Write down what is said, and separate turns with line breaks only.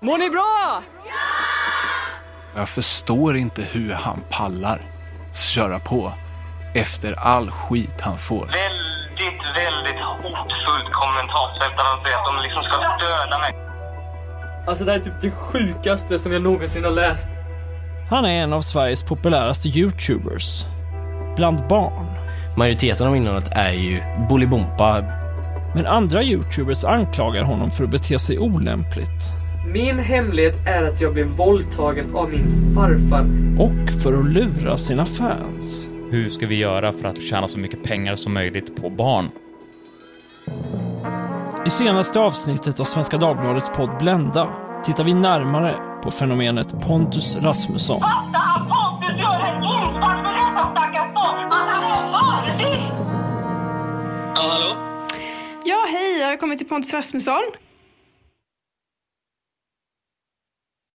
Mår ni bra?
Jag förstår inte hur han pallar köra på efter all skit han får.
Väldigt, väldigt hotfullt kommentarsfält där de säger att de liksom ska döda mig.
Alltså det här är typ det sjukaste som jag någonsin har läst.
Han är en av Sveriges populäraste YouTubers. Bland barn.
Majoriteten av innehållet är ju Bolibompa.
Men andra YouTubers anklagar honom för att bete sig olämpligt.
Min hemlighet är att jag blev våldtagen av min farfar.
Och för att lura sina fans.
Hur ska vi göra för att tjäna så mycket pengar som möjligt på barn?
I senaste avsnittet av Svenska Dagbladets podd Blenda tittar vi närmare på fenomenet Pontus Rasmusson.
Fatta att Pontus gör en insats för detta stackars barn! Att han är vansinnig!
Ja, hej, jag har kommit till Pontus Rasmusson.